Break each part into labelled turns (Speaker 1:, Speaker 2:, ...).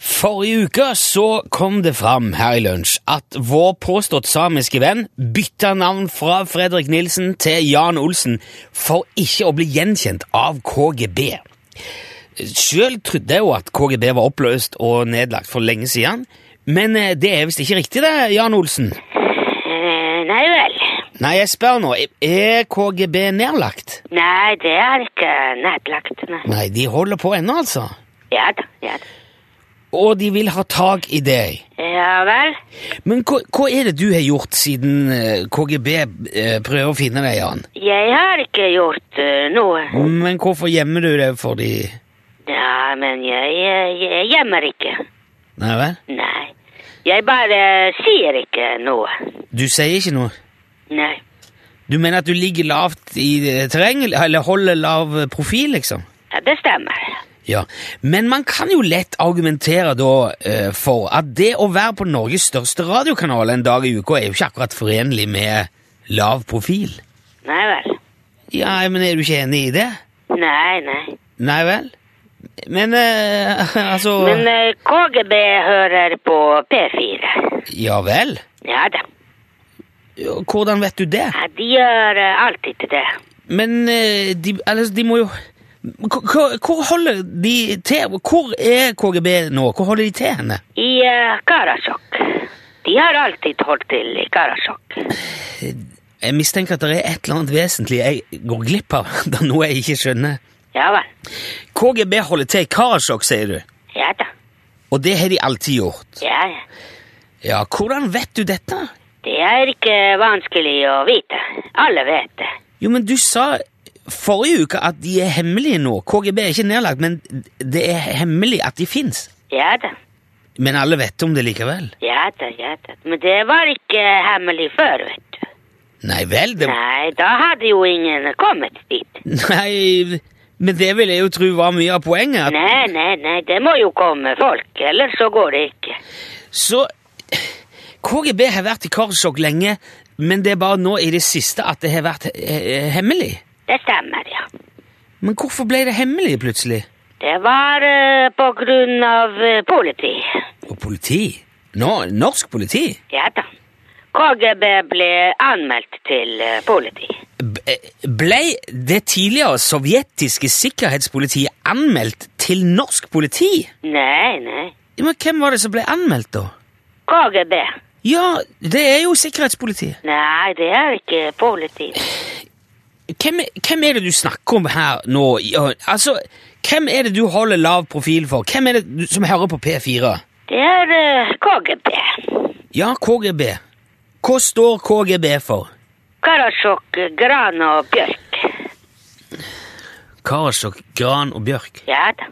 Speaker 1: Forrige uke så kom det fram her i lunsj at vår påstått samiske venn bytta navn fra Fredrik Nilsen til Jan Olsen for ikke å bli gjenkjent av KGB. Sjøl trodde jeg jo at KGB var oppløst og nedlagt for lenge siden, men eh, det er visst ikke riktig det, Jan Olsen?
Speaker 2: Eh, Nei vel.
Speaker 1: Nei, jeg spør nå, er KGB nedlagt?
Speaker 2: Nei, det er ikke nedlagt. Nei.
Speaker 1: Nei, de holder på ennå, altså.
Speaker 2: Ja da, ja da.
Speaker 1: Og de vil ha tak i deg.
Speaker 2: Ja vel.
Speaker 1: Men hva, hva er det du har gjort siden eh, KGB eh, prøver å finne deg, Jan?
Speaker 2: Jeg har ikke gjort eh, noe.
Speaker 1: Men hvorfor gjemmer du det for de
Speaker 2: Ja, men jeg, eh, jeg gjemmer ikke.
Speaker 1: Nei vel?
Speaker 2: Nei. Jeg bare sier ikke noe.
Speaker 1: Du sier ikke noe?
Speaker 2: Nei.
Speaker 1: Du mener at du ligger lavt i eh, terreng, eller holder lav eh, profil, liksom?
Speaker 2: Ja, Det stemmer.
Speaker 1: Ja, Men man kan jo lett argumentere da eh, for at det å være på Norges største radiokanal en dag i uka er jo ikke akkurat forenlig med lav profil.
Speaker 2: Nei vel.
Speaker 1: Ja, men er du ikke enig i det?
Speaker 2: Nei, nei.
Speaker 1: Nei vel? Men eh, altså
Speaker 2: Men eh, KGB hører på P4.
Speaker 1: Ja vel?
Speaker 2: Ja da.
Speaker 1: Ja, Hvordan vet du det?
Speaker 2: Ja, de gjør eh, alltid det.
Speaker 1: Men eh, de, altså, de må jo Hvor- hvor, hvor holder de til? Hvor er KGB nå? Hvor holder de til henne?
Speaker 2: I eh, Karasjok. De har alltid holdt til i Karasjok.
Speaker 1: Jeg mistenker at det er et eller annet vesentlig jeg går glipp av. Det er noe jeg ikke skjønner.
Speaker 2: Ja vel.
Speaker 1: KGB holder til i Karasjok, sier du.
Speaker 2: Ja da.
Speaker 1: Og det har de alltid gjort.
Speaker 2: Ja, ja.
Speaker 1: Ja, Hvordan vet du dette?
Speaker 2: Det er ikke vanskelig å vite. Alle vet det.
Speaker 1: Jo, men du sa forrige uke at de er hemmelige nå. KGB er ikke nedlagt, men det er hemmelig at de fins.
Speaker 2: Ja da.
Speaker 1: Men alle vet om det likevel.
Speaker 2: Ja da, ja da. Men det var ikke hemmelig før, vet du.
Speaker 1: Nei vel, det
Speaker 2: Nei, da hadde jo ingen kommet dit.
Speaker 1: Nei, men det vil jeg jo tro var mye av poenget. At,
Speaker 2: Nei, nei, nei, det må jo komme folk, ellers så går det ikke.
Speaker 1: så KGB har vært i Karasjok lenge, men det er bare nå i det siste at det har vært eh, hemmelig.
Speaker 2: Det stemmer, ja.
Speaker 1: Men hvorfor ble det hemmelig plutselig?
Speaker 2: Det var eh, på grunn av eh, politi.
Speaker 1: Og politi? Nå, norsk politi?
Speaker 2: Ja da. KGB ble anmeldt til eh, politi.
Speaker 1: B- eh, Ble det tidligere sovjetiske sikkerhetspolitiet anmeldt til norsk politi?
Speaker 2: Nei, nei.
Speaker 1: Ja, Men hvem var det som ble anmeldt, da?
Speaker 2: KGB.
Speaker 1: Ja, det er jo sikkerhetspolitiet.
Speaker 2: Nei, det er ikke politi.
Speaker 1: Hvem, hvem er det du snakker om her nå? Ja, Altså, Hvem er det du holder lav profil for? Hvem er det du, som hører på P4?
Speaker 2: Det er eh, KGB.
Speaker 1: Ja, KGB. Hva står KGB for?
Speaker 2: Karasjok, Gran og Bjørk.
Speaker 1: Karasjok, Gran og Bjørk.
Speaker 2: Ja da.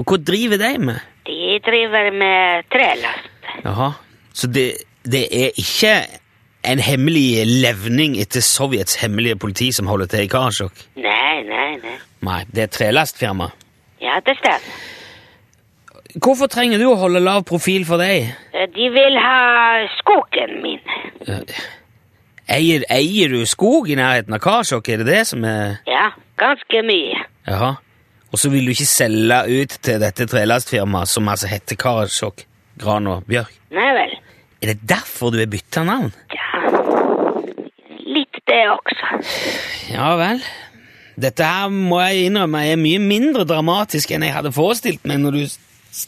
Speaker 1: Og hva driver de med?
Speaker 2: De driver med trelast.
Speaker 1: Jaha, Så det, det er ikke en hemmelig levning etter Sovjets hemmelige politi som holder til i Karasjok?
Speaker 2: Nei, nei, nei.
Speaker 1: Nei, det er et trelastfirma.
Speaker 2: Ja, det stemmer.
Speaker 1: Hvorfor trenger du å holde lav profil for deg?
Speaker 2: Eh, De vil ha skogen min.
Speaker 1: Eier, eier du skog i nærheten av Karasjok? Er det det som er
Speaker 2: Ja, ganske mye.
Speaker 1: Jaha. Og så vil du ikke selge ut til dette trelastfirmaet som altså heter Karasjok, Gran og Bjørk?
Speaker 2: Nei vel.
Speaker 1: Er det derfor du har bytta navn?
Speaker 2: Ja. Litt det også.
Speaker 1: Ja vel. Dette her må jeg innrømme er mye mindre dramatisk enn jeg hadde forestilt meg når du s-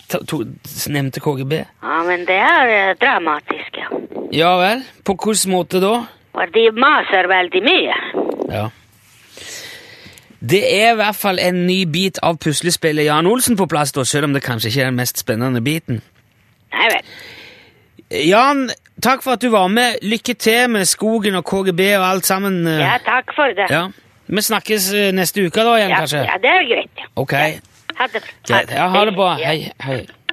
Speaker 1: ta- to- s- nevnte KGB.
Speaker 2: Ja, men det er eh, dramatisk, ja.
Speaker 1: Ja vel. På hvilken måte da?
Speaker 2: For de maser veldig mye.
Speaker 1: Ja. Det er i hvert fall en ny bit av puslespillet Jan Olsen på plass, da, selv om det kanskje ikke er den mest spennende biten.
Speaker 2: Nei vel.
Speaker 1: Jan, takk for at du var med. Lykke til med skogen og KGB og alt sammen. eh,
Speaker 2: Ja, takk for det.
Speaker 1: ja. Vi snakkes eh, neste uke da igjen,
Speaker 2: ja,
Speaker 1: kanskje?
Speaker 2: ja det er greit. ja.
Speaker 1: Ok.
Speaker 2: Ha det bra.
Speaker 1: Greit. Ja, ha det bra. Hei, hei.